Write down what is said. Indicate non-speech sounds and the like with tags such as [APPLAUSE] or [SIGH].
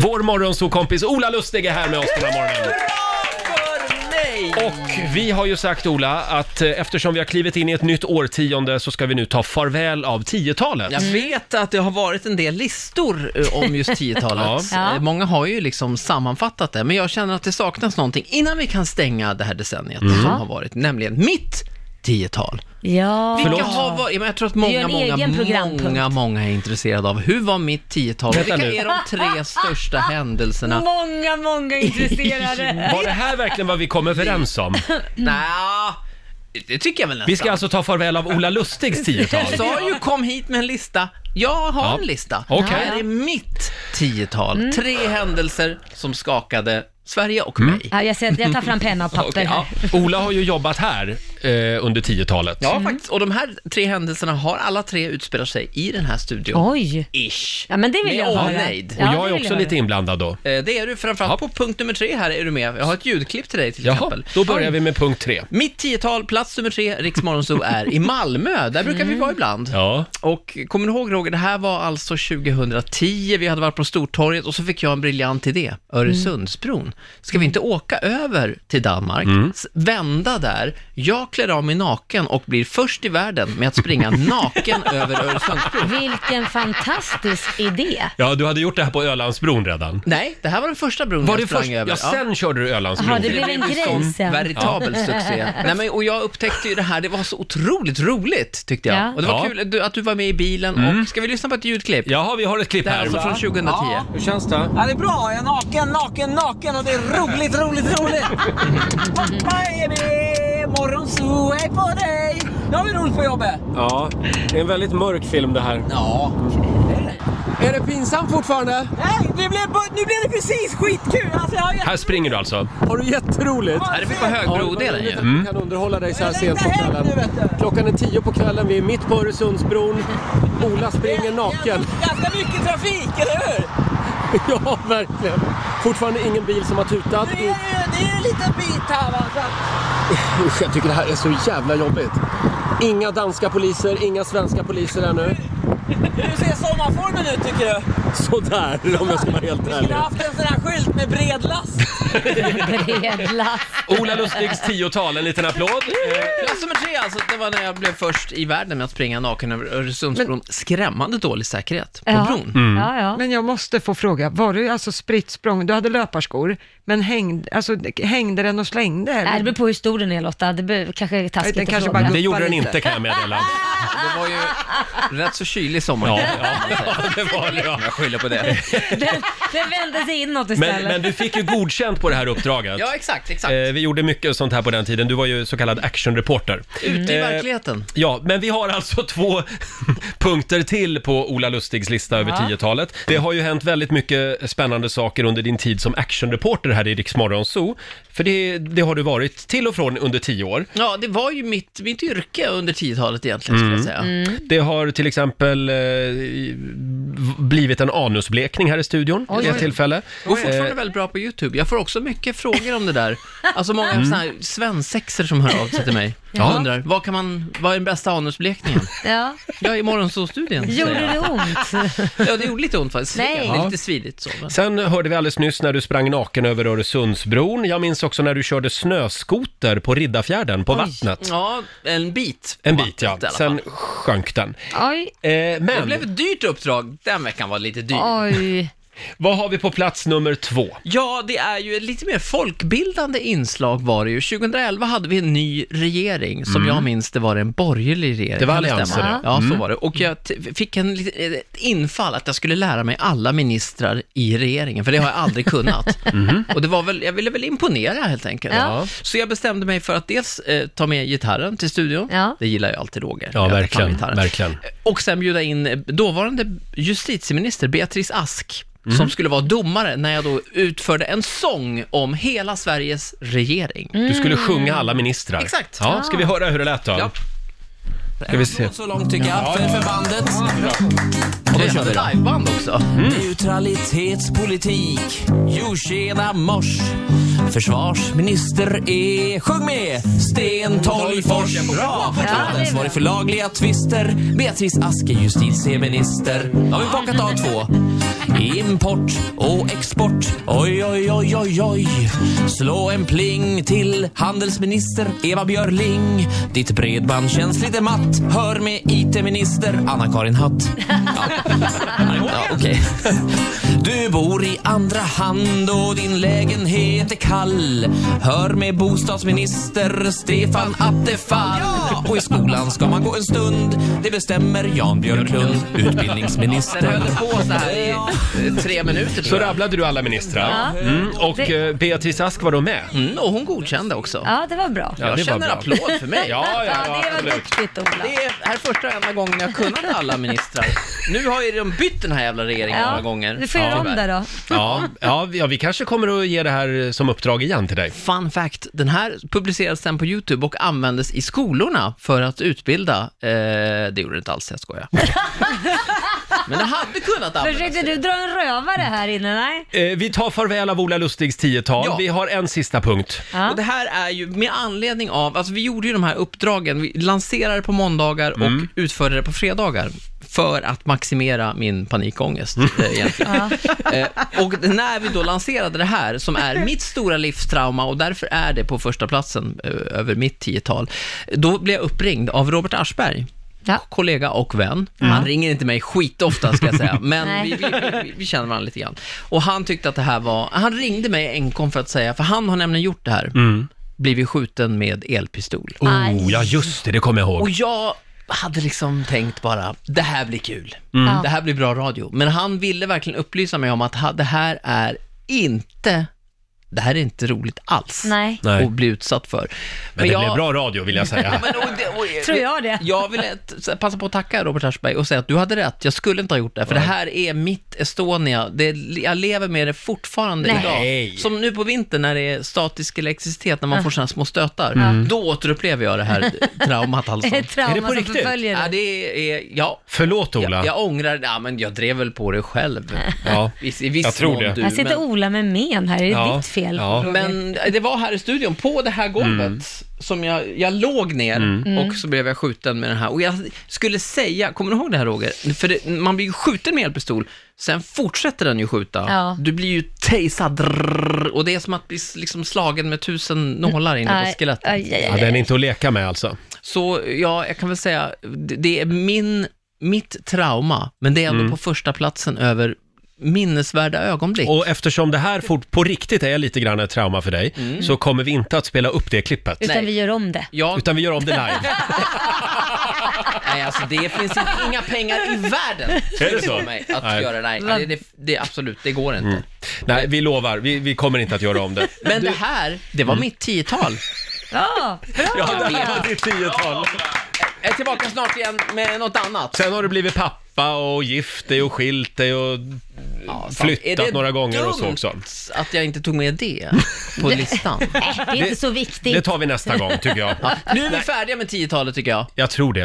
Vår morgonsåkompis Ola Lustig är här med oss den här morgonen. Och vi har ju sagt Ola att eh, eftersom vi har klivit in i ett nytt årtionde så ska vi nu ta farväl av 10-talet. Jag vet att det har varit en del listor eh, om just 10-talet. Ja. Ja. Eh, Många har ju liksom sammanfattat det, men jag känner att det saknas någonting innan vi kan stänga det här decenniet som har varit, nämligen mitt 10-tal. Ja. Vilka har varit, men jag tror att Vi många, gör en många, egen programpunkt. många, många är intresserade av hur var mitt 10-tal? Vänta Vilka nu. är de tre största händelserna? Mm. [LAUGHS] Många, många intresserade. Var det här verkligen vad vi kom överens om? Nja, det tycker jag väl nästan. Vi ska alltså ta farväl av Ola Lustigs 10-tal. Jag sa ju kom hit med en lista. Jag har Ja. en lista. Okej. Det här är mitt tiotal. Mm. Tre händelser som skakade Sverige och Mm. mig. Ja, jag, ser, jag tar fram penna och papper Okej, ja. här. Ola har ju jobbat här eh, under 10-talet. Ja, Mm. faktiskt. Och de här tre händelserna har alla tre utspelat sig i den här studion. Oj! Ish. Ja, men det vill Med jag höra. omnejd. Ja, Och det jag är vill också jag lite höra. inblandad då. Eh, Det är du framförallt på punkt nummer tre här är du med. Jag har ett ljudklipp till dig till Jaha, exempel. då börjar vi med punkt tre. Mitt tiotal, plats nummer tre, Riksmorgonzoo är i Malmö. Där brukar Mm. vi vara ibland. Ja. Och kommer du ihåg Roger, det här var alltså 2010, vi hade varit på Stortorget och så fick jag en briljant idé, Öresundsbron. Ska vi inte åka över till Danmark, s- vända där, jag klär av mig naken och blir först i världen med att springa naken över Öresundsbron. Vilken [LAUGHS] fantastisk idé! ja, du hade gjort det här på Ölandsbron redan. Nej, det här var den första bron Var jag det sprang först? över. Ja, sen körde du Ölandsbron. Jaha, det blev en blev ju grej sån sen. Veritabel succé. Nej, men, och jag upptäckte ju det här, det var så otroligt roligt tyckte jag. Ja. Och det var Ja. kul att du- att du var med i bilen och, ska vi lyssna på ett ljudklipp? Jaha, vi har ett klipp Det här är här. alltså från 2010. Hur känns det? Ja, det är bra. Jag är naken, naken, naken och det är roligt, roligt, roligt. Hoppa är det, morgonzoo, hej på dig. Nu har vi roligt på jobbet. Ja, det är en väldigt mörk film det här. Ja. Är det pinsamt fortfarande? Nej, det blev, bu- nu blev det precis skitkul. Alltså, jag har jätte- Här springer du alltså. Har du jätteroligt? Ja, det fick vara högbrodelen ju. Mm. kan underhålla dig så här Jag sent på längtar hem kvällen. nu, vet du. Klockan är tio på kvällen, vi är mitt på Öresundsbron. [LAUGHS] Ola springer naken. [LAUGHS] Ganska mycket trafik, eller hur? Ja, verkligen. Fortfarande ingen bil som har tutat. Det är ju, det är ju en liten bit här va. Så att- Usch, jag tycker det här är så jävla jobbigt. Inga danska poliser, inga svenska poliser ännu. Hur ser sommarformen ut tycker du? Sådär, om jag ska vara helt Vi skulle ärlig. haft en sån här skylt med bred last. Bredla. Ola Lustigs 10-tal, en liten applåd. Eh, Plats nummer tre, alltså, det var när jag blev först i världen med att springa naken över Öresundsbron. Skrämmande dålig säkerhet på Ja. [LAUGHS] bron. Ja, ja. Men jag måste få fråga, var du alltså spritt språng, du hade löparskor, men hängde, alltså, hängde den och slängde? eller? Nej, det beror på hur stor den är Lotta, det be- kanske är taskigt Den att kanske fråga. bara- Det gjorde den inte kan jag [LAUGHS] meddela. Det var ju rätt så kylig sommar. Ja, [LAUGHS] ja, det var det ja. Jag skyller [LAUGHS] på det. [LAUGHS] Den, den vände sig inåt istället. Men, men du fick ju godkänt på det här uppdraget. Ja, exakt, exakt. Eh, Vi gjorde mycket sånt här på den tiden. Du var ju så kallad actionreporter. Ute i Eh, verkligheten. Ja, men vi har alltså två [LAUGHS] punkter till på Ola Lustigs lista över 10-talet. Det har ju hänt väldigt mycket spännande saker under din tid som actionreporter här i Rix Morgon Zoo. För det, det har du varit till och från under 10 år. Ja, det var ju mitt, mitt yrke under 10-talet egentligen, skulle jag säga. Mm. Det har till exempel eh, blivit en anusblekning här i studion vid ett tillfälle. Eh, Jag är fortfarande väldigt bra på YouTube. Jag får också mycket frågor om det där. Alltså många Mm. såna här svensexer som hör av sig till mig. Jag undrar, vad, kan man, vad är den bästa anusblekningen? Ja. Ja, i morgonsåstudien. Gjorde det ont? Ja, det gjorde lite ont faktiskt. Nej. Det är lite svidigt så. Men. Sen hörde vi alldeles nyss när du sprang naken över Öresundsbron. Jag minns också när du körde snöskoter på Riddarfjärden, på vattnet. Ja, en bit. En på bit ja, vattnet i alla fall. sen sjönk den. Oj, Eh, Det men, blev ett dyrt uppdrag. Den veckan var lite dyr. oj. vad har vi på plats nummer två? Ja, det är ju ett lite mer folkbildande inslag var det ju. 2011 hade vi en ny regering, som jag minns det var Mm. det en borgerlig regering. Det var Kan alliansen, stämma? ja. Ja, Mm. så var det. Och jag t- fick en, lit- ett infall att jag skulle lära mig alla ministrar i regeringen, för det har jag aldrig [LAUGHS] kunnat. Och det var väl, jag ville väl imponera helt enkelt. Ja. Så jag bestämde mig för att dels eh, ta med gitarren till studion, Ja. det gillar ju alltid Roger. Ja, Jag tar verkligen, gitarren. verkligen. Och sen bjuda in eh, dåvarande justitieminister Beatrice Ask, Mm. som skulle vara domare när jag då utförde en sång om hela Sveriges regering. Mm. Du skulle sjunga alla ministrar. Mm. Exakt. Ah. Ja, ska vi höra hur det lät då? Ja. Ska vi se. Så långt tycker jag, för, för bandet. Och då körde Mm. liveband också. Neutralitetspolitik, jo tjena mors. E. Försvarsminister är, sjung med, Sten Tolgfors. Bra! Ansvarig för lagliga tvister, Beatrice Ask är justitieminister. Då har vi bockat av två. Import och export, oj, oj, oj, oj, oj. Slå en pling till handelsminister Eva Björling. Ditt bredband känns lite matt, hör med IT-minister Anna-Karin Hatt. Ja, okej. [LAUGHS] Du bor i andra hand och din lägenhet är kall. Hör med bostadsminister Stefan Attefall. Och i skolan ska man gå en stund. Det bestämmer Jan Björklund, Den utbildningsminister. höll på så här i eh, tre minuter Så tror jag. rabblade du alla ministrar. Mm, och Det- eh, Beatrice Ask var då med. Mm, och hon godkände också. Ja, det var bra. det jag var känner bra. applåd för mig. [LAUGHS] Ja, ja, Ja, ja, det var absolut. duktigt Ola. Det är här är första och enda gången jag kunnat alla ministrar. Nu har ju de bytt den här jävla regeringen några gånger. Du får göra om det då. Ja, ja, vi- ja, vi kanske kommer att ge det här eh, som uppdrag igen till dig. Fun fact, den här publicerades sen på YouTube och användes i skolorna för att utbilda. Eh, det gjorde det inte alls, jag skojar. Men det hade kunnat användas. Försökte du dra en rövare här inne? Nej. Eh, vi tar farväl av Ola Lustigs tiotal. Ja. Vi har en sista punkt. Ja. Och det här är ju med anledning av, alltså vi gjorde ju de här uppdragen, vi lanserade på måndagar och utförde det på fredagar för att maximera min panikångest eh, egentligen. Eh, och när vi då lanserade det här, som är mitt stora livstrauma och därför är det på första platsen eh, över mitt tiotal, då blev jag uppringd av Robert Aschberg. Ja. kollega och vän. Han ringer inte mig skitofta ska jag [LAUGHS] säga, men Nej. vi, vi, vi, vi känner varandra lite grann. Och han tyckte att det här var, han ringde mig enkom för att säga, för han har nämligen gjort det här, Mm. blivit skjuten med elpistol. Aj. Oh, ja, just det, det kommer jag Och ihåg. jag hade liksom tänkt bara, det här blir kul, Mm. Ja. det här blir bra radio. Men han ville verkligen upplysa mig om att ha- det här är inte, det här är inte roligt alls Nej. Nej, att bli utsatt för. men det jag- blev bra radio vill jag [LAUGHS] säga. Men, och det, och, [LAUGHS] Tror jag det. Jag vill ett- passa på att tacka Robert Aschberg och säga att du hade rätt, jag skulle inte ha gjort det, här, för det här är mitt Estonia. Det, jag lever med det fortfarande Nej. Nej. idag. Som nu på vintern när det är statisk elektricitet, när man Ah. får sådana små stötar, Mm. då återupplever jag det [LAUGHS] här traumat alltså. Ett trauma Är det på som riktigt? förföljer ja, dig. det är, ja, Förlåt jag, Ola. jag ångrar, ja men jag drev väl på det [LAUGHS] själv. Ja. I, i viss Jag tror mån det. Du, Här sitter men- Ola med men här. Är det Ja, ditt fel? ja. Mm. Roger? Men det var här i studion, på det här golvet, som jag, jag låg ner Mm. och så blev jag skjuten med den här. Och jag skulle säga, kommer du ihåg det här Roger? För det, man blir ju skjuten med elpistol, sen fortsätter den ju skjuta. Ja. Du blir ju tejsad drrrr, och det är som att bli s- liksom slagen med tusen nålar inne Aj, på skelettet. aj, aj, aj. Ja, den är inte att leka med alltså. Så ja, jag kan väl säga, det, det är min, mitt trauma, men det är ändå Mm. på första platsen över minnesvärda ögonblick. Och eftersom det här fort, på riktigt är lite grann ett trauma för dig, Mm. så kommer vi inte att spela upp det klippet. Utan Nej. vi gör om det. jag Utan vi gör om det [LAUGHS] live. Nej, alltså det finns inte, inga pengar i världen Är det så? för mig att Nej. Mm. göra nej. Nej, det. Det, det absolut, det går inte. Nej, vi lovar. Vi, vi kommer inte att göra om det. Men det här, det var Mm. mitt tiotal. Ja, Ja, bra! det här var ditt tiotal. Jag är tillbaka snart igen med något annat. Sen har du blivit pappa och gift dig och skilt dig och Ja, fan, är flyttat det några gånger och så dumt också. Att jag inte tog med det på listan. det är Det- inte så [LAUGHS] viktigt. Det tar vi nästa gång tycker jag. Nu är vi färdiga med tiotalet tycker jag. Jag tror det.